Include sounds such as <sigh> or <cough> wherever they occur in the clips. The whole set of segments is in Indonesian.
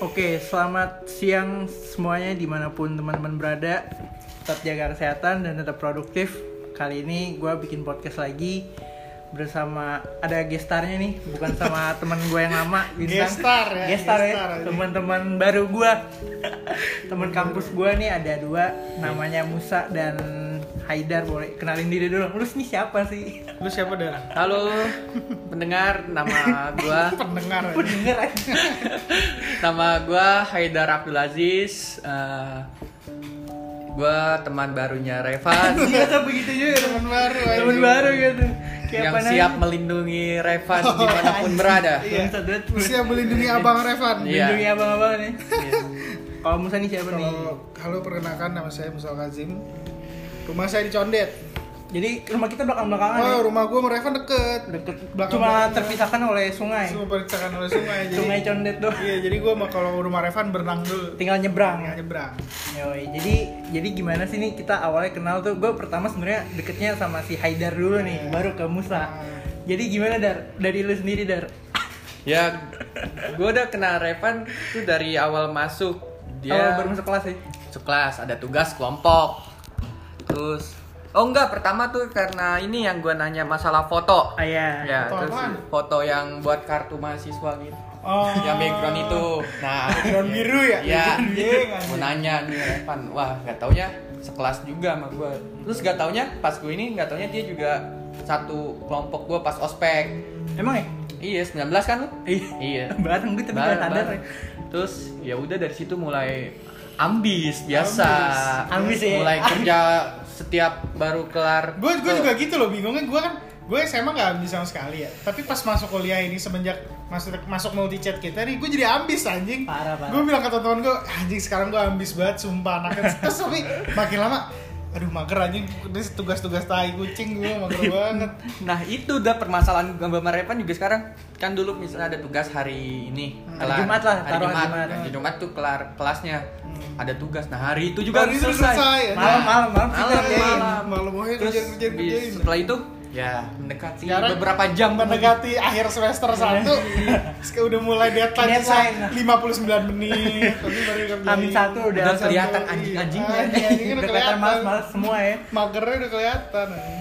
Oke, selamat siang semuanya dimanapun teman-teman berada. Tetap jaga kesehatan dan tetap produktif. Kali ini gue bikin podcast lagi bersama ada gestarnya nih, bukan <laughs> sama teman gue yang lama. Gestar ya, Gestar ya. gestar aja. Teman-teman baru gue, teman kampus gue nih ada dua, namanya Musa dan Haidar. Boleh kenalin diri dulu. Lu nih siapa sih? Lu siapa dah? Halo pendengar, nama gua <laughs> Pendengar. Gue denger aja. nama gua Haidar Abdul Aziz. Eh, gua teman barunya Revan Ternyata begitu juga. Teman baru. anjing. Teman baru gitu. Kayak yang apaan siap aja. melindungi Revan Oh, dimanapun berada. Iya. Bangsat banget. Siap melindungi Abang Revan. Iya. Lindungi abang-abang nih. <laughs> Kalau Musa nih siapa nih? Kalau halo perkenalkan nama saya Musal Kazim. Rumah saya di Condet. Jadi rumah kita belakang-belakangan ya. Oh, rumah gua sama Revan deket. Deket belakang cuma belakang. terpisahkan oleh sungai. Semua percakapan oleh sungai. Jadi, Sungai Condet doang. Iya, jadi gua mah kalau rumah Revan berenang dulu. Tinggal nyebrang. Nggak nyebrang. Yoi, jadi jadi gimana sih nih kita awalnya kenal tuh? Gue pertama sebenarnya deketnya sama si Haidar dulu nih, Iya. baru ke Musa. Nah. Jadi gimana Dar? Dari lu sendiri Dar? Ya, gua udah kenal Revan tuh dari awal masuk. Awal Dia baru masuk kelas ya? sekelas ada tugas kelompok. Terus Oh enggak, pertama tuh karena ini yang gua nanya masalah foto. Ah, iya. Ya, Foto terus apaan? foto yang buat kartu mahasiswa gitu. Oh. Yang background itu. Nah, Background biru ya? Iya. Background biru, kan? Mau nanya nih Evan. Wah, gak taunya sekelas juga sama gue. Terus gak taunya pas gue ini gak taunya dia juga satu kelompok gue pas ospek. Emang ya? Iya, 19 kan lu? Iya. Iya. <laughs> Bareng gue tapi gak Bareng, sadar. ya. bareng. Terus ya udah dari situ mulai ambis biasa. Ambis. Ambis, ya. Mulai kerja setiap baru kelar. Gue gue ke- juga gitu loh bingungnya gue kan gue SMA gak ambis sama sekali ya tapi pas masuk kuliah ini semenjak masuk masuk multi chat kita nih gue jadi ambis anjing Parah, parah. gue bilang ke teman gue anjing sekarang gue ambis banget sumpah anaknya terus tapi makin lama aduh mager anjing ini tugas-tugas tai kucing gue mager banget Nah itu udah permasalahan gambar Revan juga sekarang kan dulu misalnya ada tugas hari ini Hmm, Hari Jumat lah, hari taruh hari Jumat, Jumat. Hari Jumat tuh kelar kelasnya ada tugas nah hari itu juga Baru itu harus selesai, Hmm. selesai anjing. Malam, malam, malam, Malam, kita kerjain. malam. malam oh terus kerjain kerjain di- kerjain setelah itu ya mendekati Sekarang beberapa jam mendekati akhir semester 1 <laughs> udah mulai deadline Deadline. sisa 59 menit tapi baru kerjain Amin satu udah. Udah kelihatan Iya. anjing-anjingnya. Anjing-anjingnya udah kelihatan males-males semua ya. magernya udah kelihatan anjing.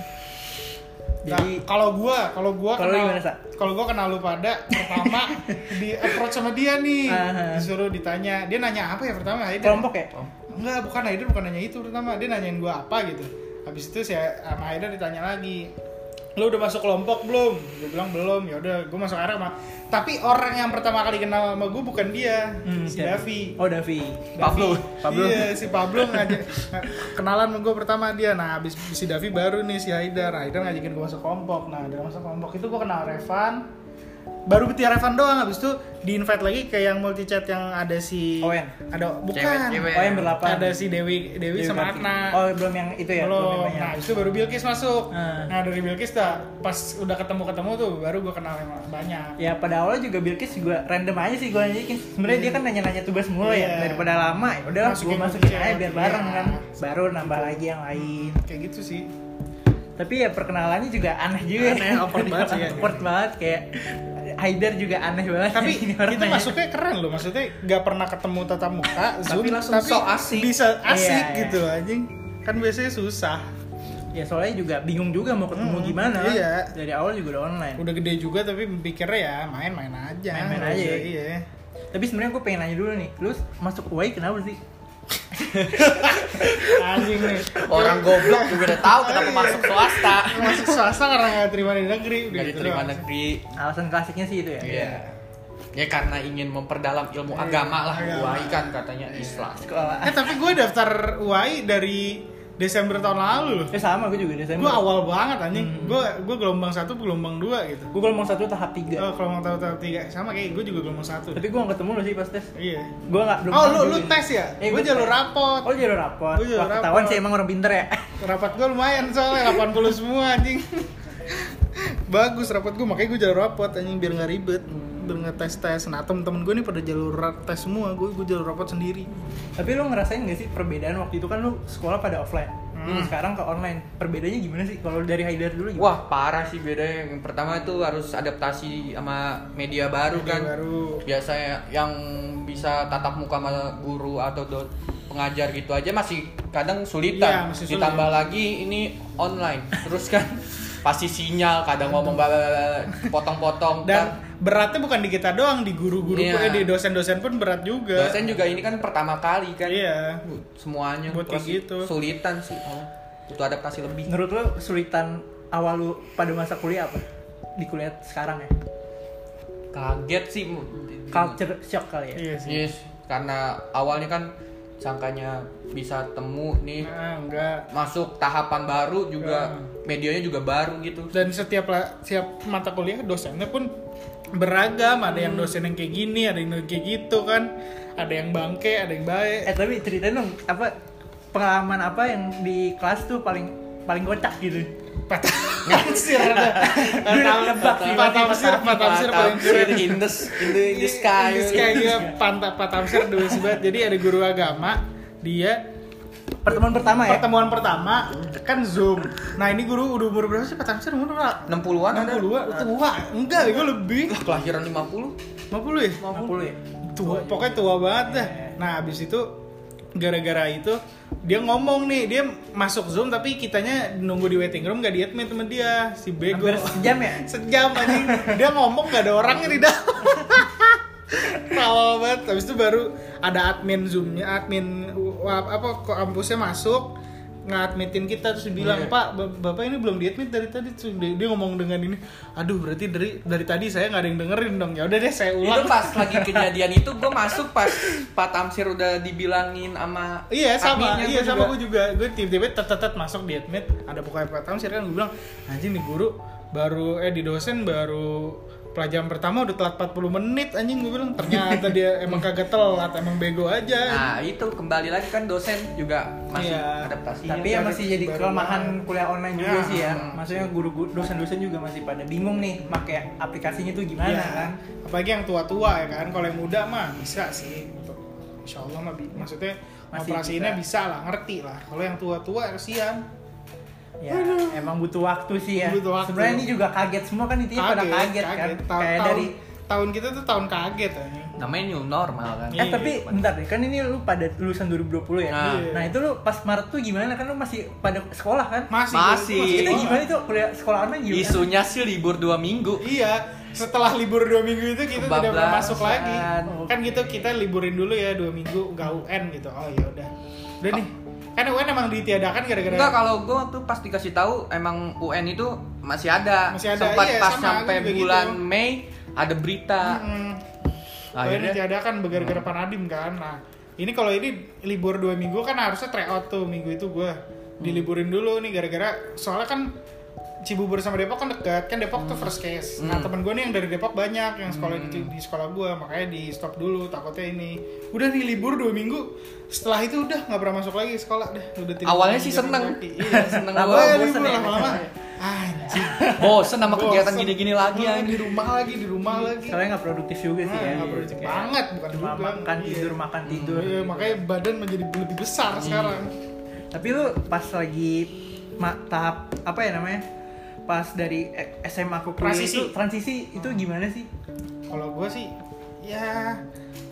Jadi nah, kalau gua, kalau gua Kalau lu kenal, gimana, Sa? kalau gua kenal lu pada <laughs> pertama di approach sama dia nih, Aha. disuruh ditanya, dia nanya apa ya pertama? Haidar? kelompok ya? Enggak, bukan Haidar, bukan nanya itu pertama. Dia nanyain gua apa gitu. Habis itu saya sama Haidar ditanya lagi. Lu udah masuk kelompok belum? Gua bilang belum. Ya udah, gua masuk arah sama. Tapi orang yang pertama kali kenal sama gua bukan dia, Hmm, si siapa? Davi. Oh Davi. Davi. Pablo. Pablo. Iya, si Pablo ngajak <laughs> kenalan sama gue pertama dia. Nah, habis si Davi baru nih si Haidar. Haidar ngajakin gue masuk kelompok. Nah, dari masuk kelompok itu gue kenal Revan. Baru Betia Revan doang habis itu di invite lagi ke yang multi chat yang ada si Owen. Ada bukan. Cewek-cewek. Oh yang berlapan. Ada si Dewi Dewi, sama Kartika. Atna. Oh belum yang itu ya? Belum yang Belum. banyak. Nah, habis itu baru Bilkis masuk. Ah. Nah, dari Bilkis dah pas udah ketemu-ketemu tuh baru gue kenal yang banyak. Ya pada awalnya juga Bilkis juga random aja sih gue nanyain. Sebenarnya dia kan nanya-nanya tugas mulu Hmm. Iya. ya daripada lama. Ya udah Masukin gue masukin aja. aja biar bareng Iya. kan. Baru nambah lagi yang lain. Kayak gitu <laughs> sih. Tapi ya perkenalannya juga aneh juga. Aneh, awkward banget sih ya. Awkward banget kayak Haidar juga aneh banget. tapi Ini orang kita nanya. masuknya keren loh maksudnya nggak pernah ketemu tatap muka zoom langsung sok asik. bisa asik Iya, iya. gitu anjing kan biasanya susah Ya soalnya juga bingung juga mau ketemu Hmm, gimana. kan. iya. Dari awal juga udah online. udah gede juga tapi pikirnya ya main-main aja Main-main Nggak aja usah, ya. iya Tapi sebenarnya gue pengen nanya dulu nih. Lu masuk UAI kenapa sih? anjing nih orang goblok juga udah tahu Iya. kenapa masuk swasta masuk swasta karena nggak terima di negeri udah nggak Iya, gitu diterima doang. negeri Alasan klasiknya sih itu ya. Iya. Ya karena ingin memperdalam ilmu Iya, agama lah agama. UAI kan katanya Islam. Sekolah. eh tapi gue daftar UAI dari Desember tahun lalu loh Ya sama gue juga Desember. Hmm. gue awal banget anjing gue gue gelombang satu gelombang dua gitu Gue gelombang satu tahap tiga. oh, gelombang tahun tahun tiga sama kayak gue juga gelombang satu Tapi gue gak ketemu lu sih pas tes. iya Gue gak belum. oh tahu lu lu iya, juga. tes ya Eh, gue gua jalur tes. rapot Oh jalur rapor. Gua jalur Wah, ketahuan rapor. sih emang orang pinter ya. <laughs> rapat gue lumayan soalnya 80 semua anjing bagus rapat gue makanya gue jalur rapat anjing biar nggak ribet biar nggak tes tes nah temen temen gue nih pada jalur ra- tes semua gue gue jalur rapat sendiri Tapi lu ngerasain gak sih perbedaan waktu itu kan lu sekolah pada offline. Hmm. dulu sekarang ke online perbedaannya gimana sih kalau dari Haidar dulu gimana? Wah parah sih bedanya. Yang pertama itu harus adaptasi sama media baru Media kan. baru. Biasanya yang bisa tatap muka sama guru atau do- pengajar gitu aja masih kadang Iya, sulitan. masih sulit. Ditambah lagi ini online. Terus kan <laughs> pasti sinyal kadang ngomong bla bla bla, potong-potong dan kan. beratnya bukan di kita doang di guru-guru pun Iya. eh, di dosen-dosen pun berat juga Dosen juga ini kan pertama kali kan. iya Semuanya Buat kayak Terus gitu. Sulitan sih. Oh, itu adaptasi lebih. Menurut lo kesulitan awal lu pada masa kuliah apa? Di kuliah sekarang ya? Kaget sih. Culture shock kali ya? iya sih Yes, karena awalnya kan sangkanya bisa temu nih nah, enggak masuk tahapan baru juga Ya. medianya juga baru gitu. dan setiap la- setiap mata kuliah dosennya pun beragam ada Hmm. yang dosen yang kayak gini ada yang kayak gitu kan ada yang bangke ada yang baik Eh tapi ceritain dong apa pengalaman apa yang di kelas tuh paling paling kocak gitu? patah <laughs> tafsir <laughs> ada Gue nebak sih, patah tafsir patah tafsir paling Patafsir keren in the, in the, in the sky. Ini sky juga pantap patamsir dulu sih banget. Jadi ada guru agama, dia Pertemuan pertama ya? pertemuan pertama kan Zoom. Nah, ini guru udah umur berapa sih patamsir? Umur berapa? 60-an ada. 60 tua. Enggak, gue lebih. Kelahiran 50. 50 ya? 50 ya? tua pokoknya tua banget dah nah abis itu gara-gara itu dia ngomong nih dia masuk zoom tapi kitanya nunggu di waiting room gak diadmit sama dia si bego Hampir sejam ya? <laughs> Iya, sejam anjing dia ngomong gak ada orangnya di dalam <laughs> Kawal banget, habis itu baru ada admin zoomnya, admin wa- apa kok kampusnya masuk ngadmitin kita terus bilang Iya. pak bap- bapak ini belum diadmit dari tadi terus dia, dia ngomong dengan ini aduh berarti dari dari tadi saya nggak ada yang dengerin dong ya udah deh saya ulang Itu pas lagi kejadian itu gue masuk pas Pak Tamsir udah dibilangin sama Iya sama, adminnya, iya gua sama juga. gue juga. Gue tiba-tiba tetetet masuk di admit, ada buka pertama sih kan gue bilang, anjing di guru baru eh di dosen baru pelajaran pertama udah telat 40 menit anjing gue bilang ternyata <laughs> dia emang kagak telat emang bego aja Nah itu kembali lagi kan dosen juga masih Iya. adaptasi. Tapi ya masih jadi baru kelemahan kuliah online juga Ya. sih ya. Maksudnya guru guru- dosen-dosen juga masih pada bingung nih pakai aplikasinya tuh gimana Iya. kan? apalagi yang tua-tua ya kan kalau yang muda mah bisa sih Insya Allah mah bi- maksudnya Masih operasinya bisa. bisa. lah ngerti lah kalau yang tua-tua kasihan Ya, emang butuh waktu sih ya. Butuh waktu. Sebenarnya ini juga kaget semua kan intinya pada kaget, kan. Tahun- Kayak tahun, dari tahun kita tuh tahun kaget anjing Namanya new normal kan. Iya, Eh tapi bentar deh, kan ini lu pada lulusan 2020 ya. Nah. Nah, itu lu pas Maret tuh gimana? Kan lu masih pada sekolah kan? masih Masih. Itu sekolah. gimana tuh kuliah sekolah online gimana? Isunya sih libur dua minggu. Iya, setelah libur dua minggu itu kita tidak pernah masuk lagi. Kebablasan. Kan gitu kita liburin dulu ya dua minggu nggak UN gitu. Oh ya udah, udah nih. Kan UN emang ditiadakan gara-gara. Enggak kalau gue waktu pas dikasih tahu emang UN itu masih ada. Masih ada, Sempat iya, pas sama, sampai gua juga bulan gitu. Mei ada berita. Mm-mm. UN Akhirnya Hmm. Hmm. ditiadakan gara-gara Panadim kan. Nah, ini kalau ini libur dua minggu kan harusnya tryout tuh minggu itu gue Hmm. diliburin dulu nih gara-gara soalnya kan Cibubur sama Depok kan dekat, kan Depok tuh Hmm. first case. Nah temen gue nih yang dari Depok banyak yang sekolah di, di sekolah gue, makanya di stop dulu takutnya ini. Udah nih libur dua minggu, setelah itu udah nggak pernah masuk lagi sekolah deh. Udah tidur awalnya sih jam seneng, kaki. <laughs> Iya. seneng Lama gua. Awalnya bosen libur ya. <laughs> lama-lama, anjing. Bosen sama kegiatan bosen. gini-gini lagi Hmm, anjing. Iya, Di rumah lagi, di rumah lagi. Soalnya nggak produktif juga sih Ah, ya. nggak produktif Kayak banget, bukan cuma juga. makan Iya. tidur makan tidur. Iya, makanya badan menjadi lebih besar sekarang. Tapi lu pas lagi ma- tahap apa ya namanya? Pas dari eh, SMA ke kuliah Transisi. itu transisi itu gimana sih? Kalau gue sih, ya,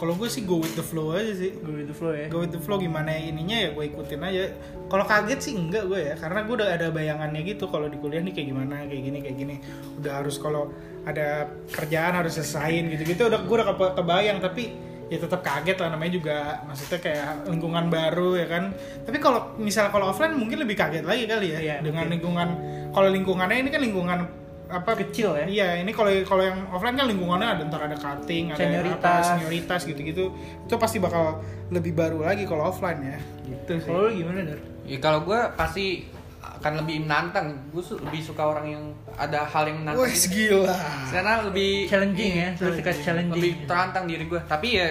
kalau gue sih go with the flow aja sih. Gue itu flow ya. Go with the flow gimana ininya ya gue ikutin aja. Kalau kaget sih enggak gue ya, karena gue udah ada bayangannya gitu. Kalau di kuliah nih kayak gimana, kayak gini, kayak gini. Udah harus kalau ada kerjaan harus selesain gitu-gitu. Udah gue udah kepe- kebayang tapi ya tetap kaget lah namanya juga maksudnya kayak lingkungan baru ya kan tapi kalau misal kalau offline mungkin lebih kaget lagi kali ya Iya, dengan mungkin. lingkungan kalau lingkungannya ini kan lingkungan apa Kecil ya. Iya, ini kalau kalau yang offline kan lingkungannya ada ntar ada cutting, ada Senioritas. apa, senioritas gitu-gitu. Itu pasti bakal lebih baru lagi kalau offline ya. Gitu sih. Kalau lu gimana, Dar? Ya, kalau gue pasti akan lebih menantang. Gue su- lebih suka orang yang ada hal yang menantang. Wih, gitu. gila. Karena lebih Challenging ya, Iya, lu suka challenging. lebih gitu. terantang diri gue tapi ya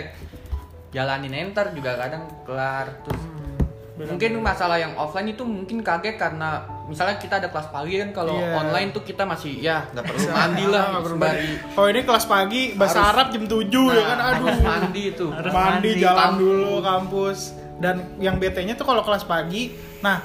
jalanin enter juga kadang kelar terus Hmm, mungkin masalah yang offline itu mungkin kaget karena misalnya kita ada kelas pagi kan kalau Iya. online tuh kita masih ya <laughs> nggak perlu mandi lah Ah, nggak perlu sembari mandi. Oh, ini kelas pagi bahasa Harus- Arab jam 7 ya Nah, kan. Aduh. harus mandi itu Harus mandi, mandi, jalan kampus. dulu kampus dan yang bete-nya tuh kalau kelas pagi nah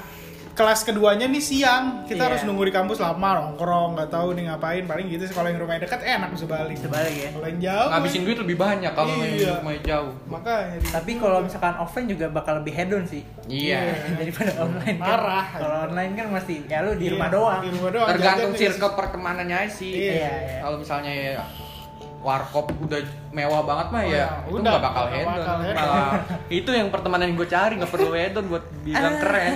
kelas keduanya nih siang Iya. kita harus nunggu di kampus lama nongkrong nggak tahu nih ngapain paling gitu sih kalau yang rumahnya dekat enak bisa balik Bisa balik ya. kalau yang jauh ngabisin duit lebih banyak kalau main Iya. main jauh makanya di- Tapi kalau misalkan offline juga bakal lebih hedon sih iya <laughs> daripada online. kan. Parah. Kalau online kan masih ya lu di Iya, rumah doang. di rumah doang jajan tergantung nih. circle pertemanannya aja sih Iya, iya. kalau misalnya ya warkop udah mewah banget mah ya, ya, itu udah, nggak bakal nggak hedon bakal hedon. malah <laughs> itu yang pertemanan yang gue cari nggak perlu hedon buat bilang keren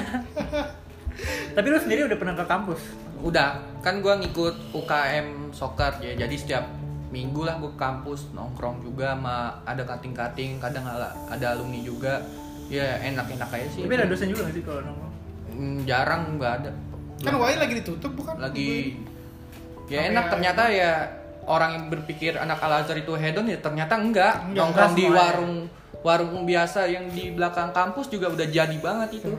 Tapi lu sendiri udah pernah ke kampus. udah kan gue ngikut UKM soccer ya jadi setiap minggu lah gue kampus nongkrong juga sama ada kating-kating kadang ala- ada alumni juga ya enak-enak aja sih Iya. Tapi ada dosen juga gak sih kalau nongkrong? Hmm, jarang nggak ada kan wai lagi ditutup bukan lagi ya Apa enak ya? ternyata ya orang yang berpikir anak Al Azhar itu hedon ya ternyata enggak, Enggak, enggak nongkrong di semuanya. warung warung biasa yang di belakang kampus juga udah jadi banget itu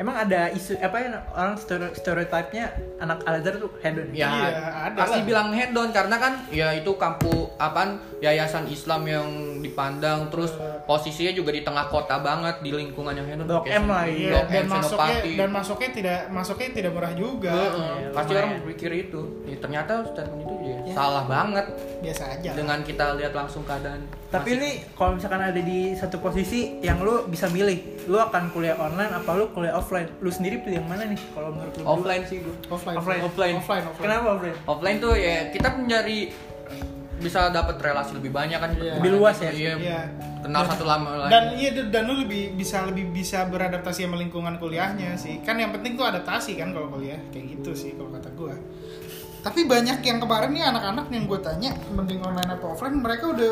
Emang ada isu apa ya orang stereo- stereotipnya anak Al-Azhar tuh hedon. ya Iya, ada pasti lah. bilang hedon karena kan ya itu kampu apaan yayasan Islam yang dipandang terus posisinya juga di tengah kota banget di lingkungan yang hedon Blok Kayak M lah, Sen- iya. Blok dan M, masuknya Senopati. dan masuknya tidak masuknya tidak murah juga Heeh, Iya, pasti lumayan. orang berpikir itu ya, ternyata statement itu ya, salah banget biasa aja lah. dengan kita lihat langsung keadaan Tapi masih- ini kalau misalkan ada di satu posisi yang lu bisa milih, lu akan kuliah online apa lu kuliah offline? Lu sendiri pilih yang mana nih kalau menurut lu? berdua? offline sih gue offline Offline. offline offline, offline. Kenapa offline? offline tuh ya kita mencari bisa dapat relasi lebih banyak kan Iya. Lebih luas ya? Iya. Iya. kenal satu lama lain dan iya dan- dan lu lebih bisa lebih bisa beradaptasi sama lingkungan kuliahnya sih kan yang penting tuh adaptasi kan kalau kuliah kayak gitu sih kalau kata gua tapi banyak yang kemarin nih anak-anak yang gue tanya mending online apa offline mereka udah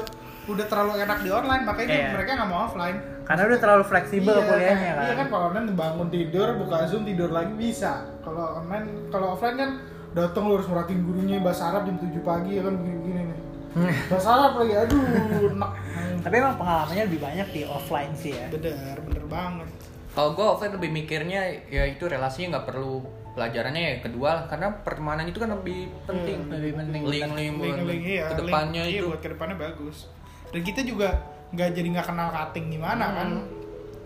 udah terlalu enak di online makanya dia- Iya. mereka nggak mau offline Karena udah terlalu fleksibel kuliahnya kan. iya kan kalau online bangun tidur buka zoom tidur lagi bisa kalau online kalau offline kan datang lu harus merhatiin gurunya bahasa Arab jam 7 pagi ya kan begini-begini <laughs> nih bahasa Arab lagi aduh enak Tapi emang pengalamannya lebih banyak di offline sih ya. bener bener banget kalau gue offline lebih mikirnya ya itu relasinya nggak perlu pelajarannya ya kedua lah karena pertemanan itu kan lebih penting Iya, Lebih penting. link-link buat link-link iya kedepannya link, itu iya, buat kedepannya bagus dan kita juga nggak jadi nggak kenal cutting gimana Hmm. kan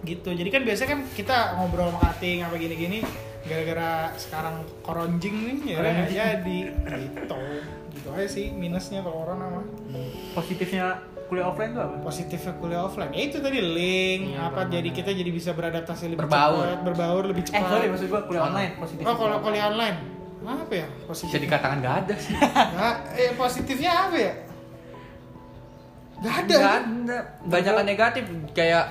gitu jadi kan biasanya kan kita ngobrol sama cutting apa gini-gini gara-gara sekarang koronjing nih ya nggak jadi gitu gitu aja sih minusnya kalau corona mah Positifnya kuliah offline tuh apa? positifnya kuliah offline ya itu tadi link Iya, apa jadi kita jadi bisa beradaptasi lebih Berbaur. cepat berbaur lebih cepat Eh sorry maksud gua kuliah online positif. oh kalau kuliah online apa ya bisa positif dikatakan nggak ada sih Nggak, eh positifnya apa ya? Gak ada. nggak ada banyak negatif kayak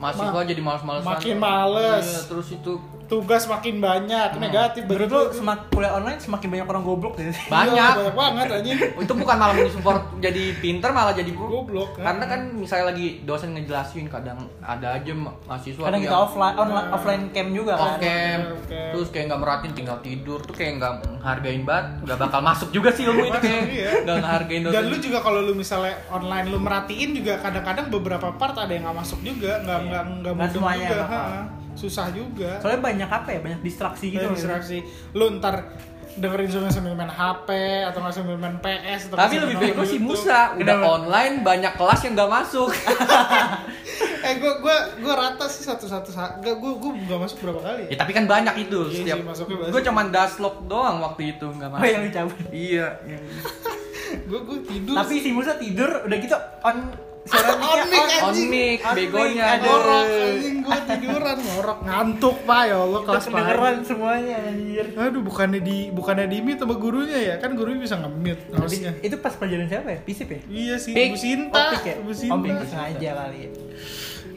mahasiswa jadi males-malesan makin males. Iya, terus itu Tugas makin banyak, negatif. Menurut lu semak kuliah online semakin banyak orang goblok gitu. Iya, banyak banyak banget anjing. itu bukan malah mensupport jadi pinter malah jadi bu- Goblok. Karena kan misalnya lagi dosen ngejelasin kadang ada aja ma- mahasiswa Kadang tuh kita yang offline online, offline camp juga off kan. cam, Off cam. terus kayak nggak merhatiin tinggal tidur tuh kayak nggak menghargain banget, nggak bakal masuk juga sih ilmu itu Masuk, kayak iya. nggak ngehargain dosen. Dan lu juga kalau lu misalnya online lu merhatiin juga kadang-kadang beberapa part ada yang nggak masuk juga, nggak Iya. nggak nggak Nggak mudeng semuanya juga, bakal. ha. susah juga. Soalnya banyak apa ya? Banyak distraksi gitu. Kayak loh. distraksi. Lu ntar dengerin zoom sambil main HP atau nggak sambil main PS atau nggak Tapi sambil lebih nonton bego si YouTube. Musa, udah Kenapa? online banyak kelas yang nggak <laughs> masuk. Eh gua gua gua rata sih satu-satu. sa- Gua gua gua nggak masuk berapa kali ya? ya tapi kan banyak itu Iya sih, setiap. masuknya banyak. Gue cuman daslop doang waktu itu Oh nggak masuk. yang dicabut. Iya. yang- Gua gua tidur. Tapi si Musa tidur udah gitu on suara <laughs> On mic-nya mic, on. eh. On Anjing, mic, on mic, begonya. aduh. ngorok iya. anjing gue tiduran ngorok ngantuk pak ya Allah Itu kelas kedengeran pagi semuanya anjir. aduh bukannya di bukannya di mute sama gurunya ya kan gurunya bisa nge-mute Tapi harusnya itu pas pelajaran siapa ya? Pisip ya? iya sih Pik. Bu Sinta Oh, Opik ya? Bu Opik Sinta sengaja kali ya.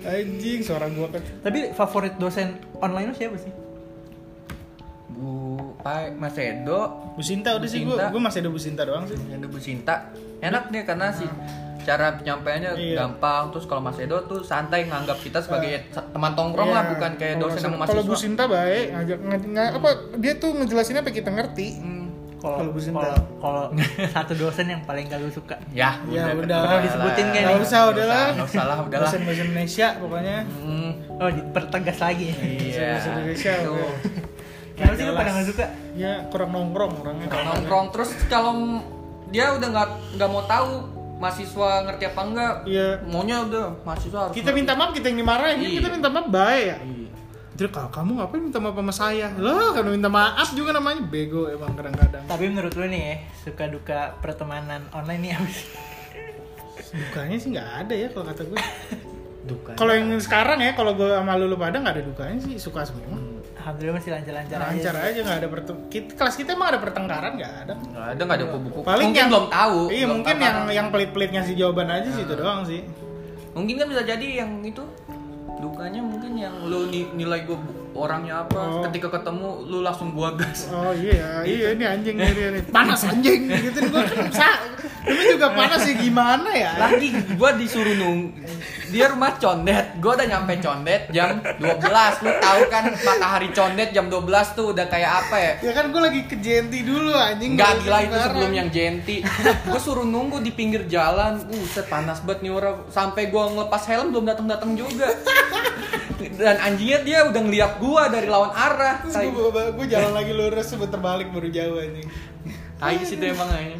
anjing suara gue kan Tapi favorit dosen online lu siapa sih? Bu Pak Mas Edo, Bu Sinta udah Bu sih gue Sinta. gue masih ada Bu Sinta doang sih yang Bu Sinta enak deh karena sih cara penyampaiannya Nah. Iya. Nah. gampang terus kalau Mas Edo tuh santai nganggap kita sebagai teman tongkrong lah Iya. bukan kayak Kalau dosen Bu- sama kalau Bu mahasiswa Sinta baik ngajak nge- nge- apa dia tuh ngejelasinnya apa kita ngerti Hmm, Kalau Kalau Bu Sinta. kalau- kalau <laughs> satu dosen yang paling gak lu suka. ya Ya, udah, udah. udah Disebutin lah. kayak Nggak nih. usah udah lah nggak usah lah udah lah dosen bahasa Indonesia pokoknya Hmm, Oh, dipertegas lagi. iya Bahasa Indonesia, Tuh. udah. Kenapa sih lu Jelas. pada gak suka? ya kurang nongkrong orangnya Kalau nongkrong terus kalau m- dia udah nggak nggak mau tahu mahasiswa ngerti apa enggak iya maunya udah mahasiswa harus kita minta maaf kita yang dimarahin Iya. kita minta maaf baik ya ngerti. Jadi kalau kamu ngapain minta maaf sama saya? Loh, kalau minta maaf juga namanya bego emang kadang-kadang. Tapi menurut lu nih ya, suka duka pertemanan online nih apa sih? Dukanya sih nggak ada ya kalau kata gue. duka Kalau yang sekarang ya, kalau gue sama lu lu pada nggak ada dukanya sih, suka semua. Alhamdulillah masih lancar-lancar aja. Lancar aja nggak ada perteng. kita- kelas kita emang ada pertengkaran nggak ada. nggak ada nggak ada kubu-kubu Iya. Paling mungkin yang- belum tahu Iya belum mungkin tahu Ah. yang kan. yang pelit-pelit ngasih jawaban aja sih itu doang sih. mungkin kan bisa jadi yang itu dukanya mungkin yang lu ni- nilai gue orangnya apa Oh. ketika ketemu lu langsung gua gas Oh iya, Gitu. iya ini anjing ini, <laughs> ini. panas anjing gitu gue sa, ini juga panas ya gimana ya? lagi gua disuruh nung dia rumah condet gua udah nyampe condet jam 12 lu tahu kan matahari condet jam 12 tuh udah kayak apa ya Ya kan gue lagi ke JNT dulu anjing. Enggak baru gila itu sekarang. sebelum yang jenti Gue suruh nunggu di pinggir jalan Uh set panas banget nih orang Sampai gue ngelepas helm belum datang-datang juga Dan anjingnya dia udah ngeliat gue dari lawan arah Terus Tai, gue, jalan lagi lurus sebentar balik baru jauh anjing. tai sih itu emang aja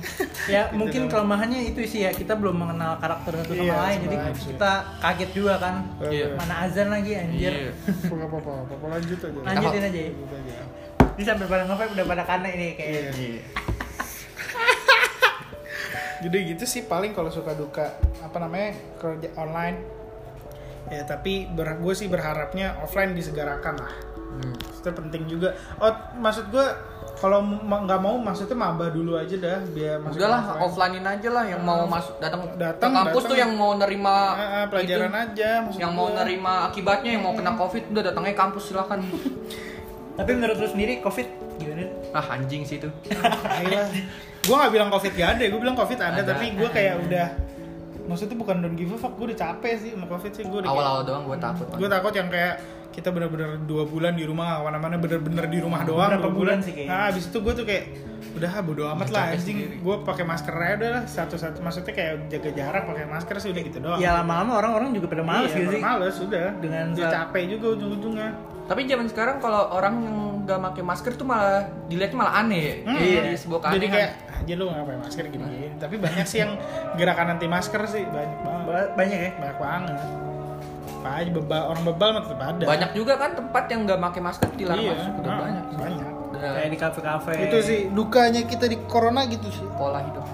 Ya mungkin doang. kelemahannya itu sih ya, kita belum mengenal karakter satu sama Gitu Iya, lain. Jadi sama aja. kita kaget juga kan. Iya. Mana azan lagi anjir. Iya Enggak apa-apa, apa-apa lanjut aja. Lanjutin aja ya. Lanjut aja. Ini sampai pada ngapain udah pada kane ini kayak. Iya. <laughs> Jadi gitu sih paling kalau suka duka apa namanya kerja online. Ya tapi ber gue sih berharapnya offline disegerakan lah. Hmm. Itu penting juga. Oh maksud gue kalau ma- nggak mau maksudnya maba dulu aja dah biar masuk Udah lah offline. offline-in aja lah yang mau masuk datang ke Datang, kampus datang. tuh yang mau nerima Ah, ah, pelajaran itu, aja maksud yang mau gua. nerima akibatnya yang mau kena covid udah datangnya kampus <laughs> silahkan Tapi menurut lu sendiri covid gimana? ah anjing sih itu gue gak bilang covid gak ada gue bilang covid ada, Ada. tapi gue kayak udah maksudnya bukan don't give a fuck gue udah capek sih sama covid sih gue udah kayak- awal-awal doang gue takut gue takut yang kayak kita bener-bener dua bulan di rumah mana-mana bener-bener di rumah Berapa doang dua bulan sih kayaknya? nah abis itu gue tuh kayak udah ah, bodo amat Udah lah capek anjing sendiri. gue pakai masker aja udah lah satu-satu maksudnya kayak jaga jarak pakai masker sih udah gitu doang Ya lama-lama orang-orang juga pada males Iya, gitu sih. males udah Dengan udah sa- capek juga ujung-ujungnya Tapi zaman sekarang kalau orang yang nggak pakai masker tuh malah dilihatnya malah aneh. ya. Iya. Jadi sebuah keanehan. jadi kayak aja lu nggak pakai masker gini tapi banyak sih yang gerakan anti masker sih banyak banget Ba- Banyak ya. banyak banget apa aja bebal orang bebal mah tetap ada banyak juga kan tempat yang nggak pakai masker dilarang iya masuk. Udah ah, banyak. banyak Udah Kayak di kafe-kafe. itu sih dukanya kita di corona gitu sih pola hidup.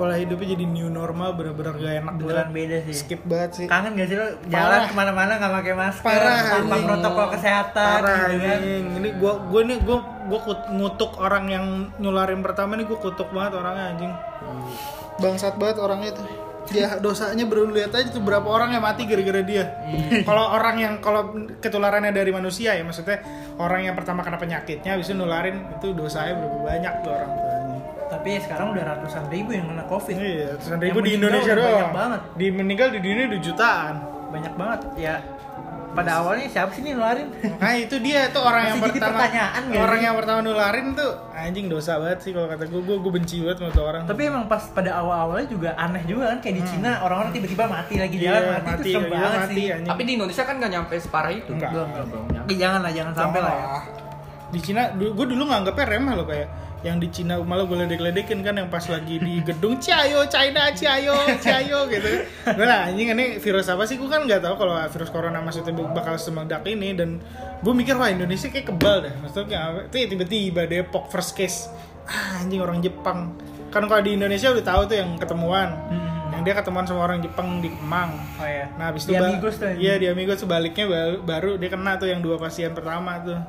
pola hidupnya jadi new normal bener-bener gak enak beneran beda sih. skip banget sih Kangen gak sih lo jalan Parah. kemana-mana gak pakai masker, Parah, tanpa anjing. protokol kesehatan parah gitu kan. anjing ini gua gua nih gua gua kut- ngutuk orang yang nyularin pertama nih gua kutuk banget orangnya anjing Hmm. bangsat banget orangnya tuh <laughs> dia dosanya baru lihat aja tuh berapa orang yang mati gara-gara dia <laughs> kalau orang yang kalau ketularannya dari manusia ya maksudnya orang yang pertama kena penyakitnya habis itu nularin itu dosanya berapa banyak tuh orang tuh anjing Tapi sekarang udah ratusan ribu yang kena covid. iya ratusan Yang ribu di meninggal Indonesia udah doang banyak banget. di meninggal di dunia udah jutaan Banyak banget. Ya pada awalnya siapa sih nih nularin? Makanya itu dia itu orang yang Masih jadi pertama pertanyaan nggak orang sih? yang pertama nularin tuh anjing dosa banget sih kalau kata gue gue gue benci banget sama tuh orang. Tapi emang pas pada awal-awalnya juga aneh juga kan kayak di Cina orang-orang tiba-tiba mati lagi Hmm. Iya, jalan mati, itu serem iya, banget mati, sih. anjing. Tapi di Indonesia kan nggak nyampe separah itu. Nggak. Belum, belum, Belum Tapi nyampe. jangan lah, jangan sampai lah ya. Di Cina gue dulu nganggapnya remeh loh kayak yang di Cina malah gue ledek-ledekin kan yang pas lagi di gedung Ciayo China Ciayo Ciayo gitu. Gue lah anjing ini virus apa sih gue kan nggak tahu kalau virus corona maksudnya bakal semeledak ini dan gue mikir wah Indonesia kayak kebal deh maksudnya kayak apa? Tapi tiba-tiba Depok first case ah, anjing orang Jepang kan kalau di Indonesia udah tahu tuh yang ketemuan yang dia ketemuan sama orang Jepang di Kemang Oh iya. Nah, habis Di itu ba- Amigos tuh. Iya, di Amigos tuh baliknya baru, baru dia kena tuh yang dua pasien pertama tuh.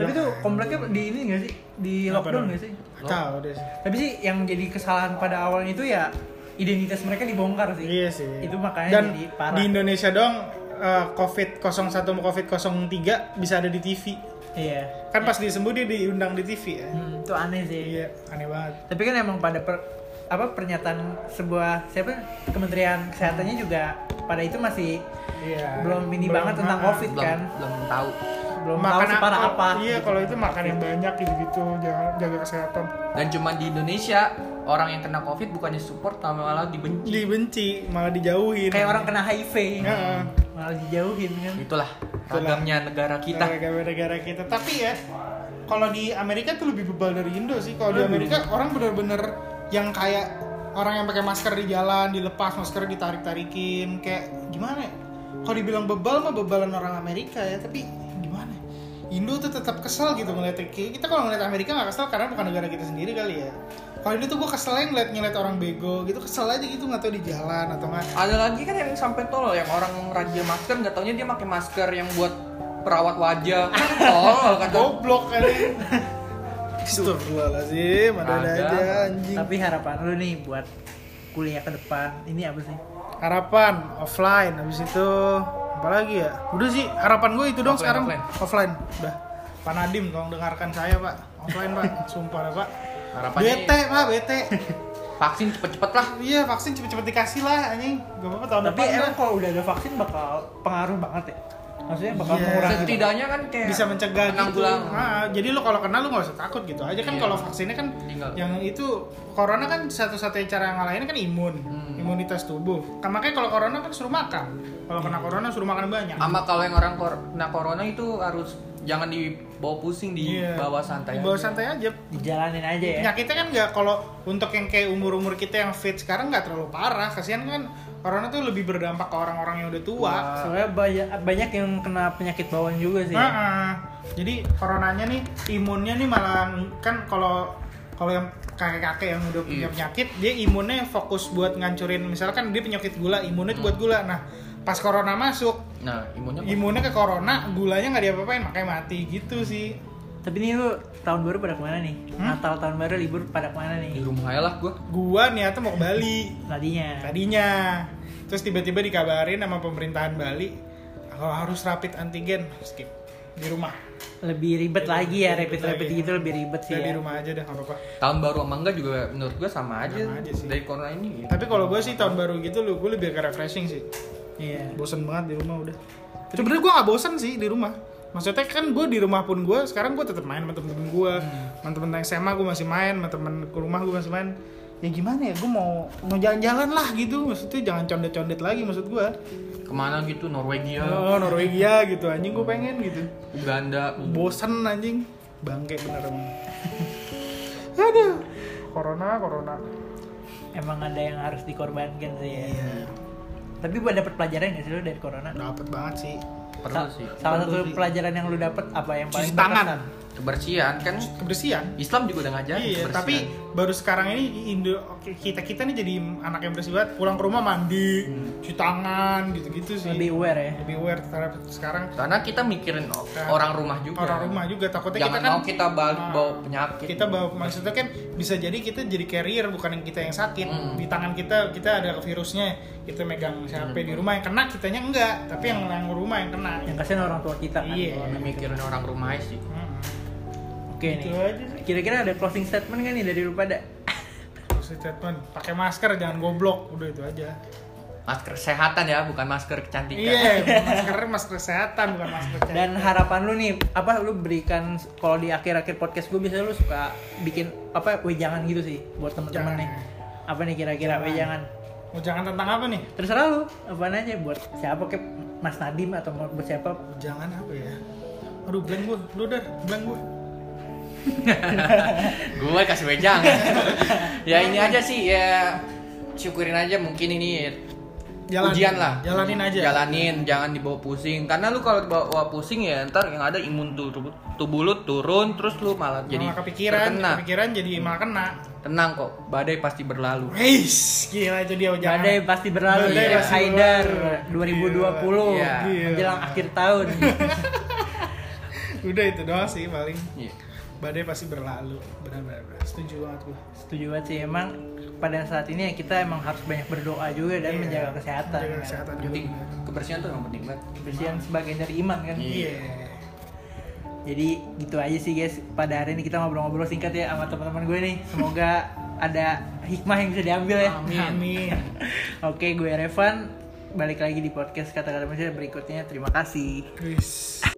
Tapi tuh kompleknya di ini gak sih? Di Apa lockdown dong? gak sih? Kacau deh. sih. Tapi sih yang jadi kesalahan pada awalnya itu ya identitas mereka dibongkar sih. Iya sih. Itu makanya Dan jadi parah. di Indonesia dong eh, COVID 01 sama COVID 03 bisa ada di TV. Iya. Kan pas disembuh dia diundang di TV ya. Hmm, itu aneh sih. Iya, aneh banget. Tapi kan emang pada per- apa pernyataan sebuah siapa Kementerian Kesehatannya juga pada itu masih Iya. belum ini banget tentang ah, COVID Belum, kan. belum tahu. Belum tahu separah kalau- apa. Iya, kalau itu makan yang banyak gitu-gitu, jangan jaga kesehatan. Dan cuma di Indonesia orang yang kena covid bukannya support malah dibenci. Dibenci, malah dijauhin. Kayak orang kena HIV. Heeh. Malah dijauhin kan. Itulah Itulah. Eh. ragamnya negara kita. negara-negara kita tapi ya kalau di Amerika tuh lebih bebal dari Indo sih kalau di Amerika orang bener-bener yang kayak orang yang pakai masker di jalan dilepas masker ditarik-tarikin kayak gimana ya kalau dibilang bebal mah bebalan orang Amerika ya tapi gimana ya? Indo tuh tetap kesel gitu ngeliat kayak kita kalau ngeliat Amerika nggak kesel karena bukan negara kita sendiri kali ya kalau Indo tuh gue keselnya ngeliat ngeliat orang bego gitu kesel aja gitu nggak tahu di jalan atau nggak Ada lagi kan yang sampai tolol yang orang rajia masker nggak taunya dia pakai masker yang buat perawat wajah. Tolol kan tuh. goblok kali <laughs> Astagfirullahaladzim, ada-ada Ada. aja anjing Tapi harapan lu nih buat kuliah ke depan ini apa sih? Harapan, offline, habis itu apa lagi ya? Udah sih, harapan gue itu dong Offline, sekarang offline. offline. Udah. Pak Nadim, tolong dengarkan saya pak Offline <laughs> pak, sumpah dah pak Harapannya Bete pak, bete vaksin cepet-cepet lah. Iya vaksin cepet-cepet dikasih lah anjing Gak apa-apa tahun Tapi depan emang lah. kalau udah ada vaksin bakal pengaruh banget ya. Maksudnya bakal Iya. mengurangi. Setidaknya kan kayak bisa mencegah gitu. menanggulang. Ah, jadi lo kalau kena lo nggak usah takut gitu aja kan Iya. kalau vaksinnya kan Tinggal. yang itu corona kan satu-satunya cara ngalahin kan imun, Hmm. imunitas tubuh. Kan makanya kalau corona kan suruh makan. Kalau kena corona suruh makan banyak. Iya. Sama kalau yang orang kor kena corona itu harus jangan dibawa pusing, Iya. dibawa santai. Bawa aja. santai aja. Dijalanin aja ya. Penyakitnya kan nggak kalau untuk yang kayak umur-umur kita yang fit sekarang nggak terlalu parah. Kasihan kan corona tuh lebih berdampak ke orang-orang yang udah tua. Soalnya banyak banyak yang kena penyakit bawaan juga sih. Heeh. Jadi coronanya nih imunnya nih malah kan kalau kalau yang kakek-kakek yang udah punya Iya. penyakit dia imunnya fokus buat ngancurin misalkan dia penyakit gula imunnya tuh buat gula. Nah pas corona masuk Nah, imunnya imunnya ke corona gulanya nggak diapa-apain makanya mati gitu sih. Tapi nih lu tahun baru pada kemana nih? Natal tahun baru libur pada kemana di nih? rumah aja lah gua. Gua niatnya mau ke Bali Tadinya. tadinya terus tiba-tiba dikabarin sama pemerintahan Bali kalau harus rapid antigen skip di rumah Lebih ribet lagi ya, Ribet rapid-rapid lagi. gitu lebih ribet sih Udah di ya. rumah aja deh nggak apa-apa. Tahun baru sama enggak juga menurut gua sama aja, Sama aja sih. dari corona ini. Tapi kalau gue sih tahun baru gitu lu gue lebih ke refreshing sih. Iya. Bosen banget di rumah udah. Tapi Sebenernya gue gak bosen sih di rumah. Maksudnya kan gue di rumah pun gue sekarang gue tetap main sama temen-temen gue, sama temen-temen SMA gue masih main, sama temen ke rumah gue masih main. Ya gimana ya, gue mau mau jalan-jalan lah gitu. Maksudnya jangan condet-condet lagi maksud gue. Kemana gitu Norwegia, Oh Norwegia gitu, anjing gue pengen gitu. Uganda. Bosen anjing, bangke bener emang. <laughs> Aduh, corona, corona. Emang ada yang harus dikorbankan sih ya. Tapi buat dapat pelajaran nggak sih lu dari corona? Iya, Dapet banget sih. Perlu Sa- sih. Salah satu pelajaran yang lu dapat apa yang paling Cuci tangan, berkesan? Kebersihan kan kebersihan. Islam juga udah ngajarin Iya, kebersihan. tapi baru sekarang ini Indo kita kita nih jadi anak yang bersih banget. Pulang ke rumah mandi, cuci tangan, gitu-gitu sih. Lebih aware ya. Hmm. Lebih aware terhadap sekarang karena kita mikirin o- Nah, orang rumah juga. orang rumah juga takutnya Jangan kita kan mau kita balik Nah, bawa penyakit. kita bawa maksudnya kan bisa jadi kita jadi carrier bukan yang kita yang sakit Hmm. di tangan kita kita ada virusnya kita megang siapa di rumah yang kena kitanya enggak tapi yang yang rumah yang kena Hmm. Yang kasihan orang tua kita kan. Iya. Corona. mikirin orang rumah aja sih. Hmm. Oke Gitu nih. aja sih. Kira-kira ada closing statement nggak nih dari lu pada? Terus statement pakai masker jangan goblok udah itu aja Masker kesehatan ya, bukan masker kecantikan. iya masker masker kesehatan bukan masker Dan harapan lu nih apa lu berikan kalau di akhir-akhir podcast gue biasanya lu suka bikin apa wejangan gitu sih buat teman-teman Jangan. nih. Apa nih kira-kira wejangan? mau jangan tentang apa nih Terserah lu, apaan aja buat siapa ke Mas Nadim atau mau buat siapa? Jangan apa ya? Aduh, blank gue. Lu dar, blank gue. gue kasih wejang <laughs> ya ini aja sih ya syukurin aja mungkin ini ujian lah Jalanin aja. jalanin jangan dibawa pusing karena lu kalau dibawa pusing ya ntar yang ada imun tu- tubuh, tubuh lu turun terus lu malah Jadi jadi kepikiran, terkena. kepikiran jadi malah kena. tenang kok badai pasti berlalu Weis, gila itu dia jangan. Badai pasti berlalu Badai ya. pasti Haidar berlalu. 2020 Iya. Iya. menjelang akhir tahun. <laughs> Udah itu doang sih paling. Iya. Badai pasti berlalu. Benar-benar. benar. Setuju banget gue. Setuju banget sih emang pada saat ini ya kita emang harus banyak berdoa juga dan Iya. menjaga kesehatan. Jaga kan. kesehatan juga. penting kebersihan tuh yang penting banget Kebersihan sebagian dari iman kan. Iya. Iya. Jadi gitu aja sih guys. Pada hari ini kita ngobrol-ngobrol singkat ya sama teman-teman gue nih. Semoga <laughs> ada hikmah yang bisa diambil ya. <laughs> Amin. Oke, gue Revan. Balik lagi di podcast kata-kata manusia berikutnya. Terima kasih. Weis.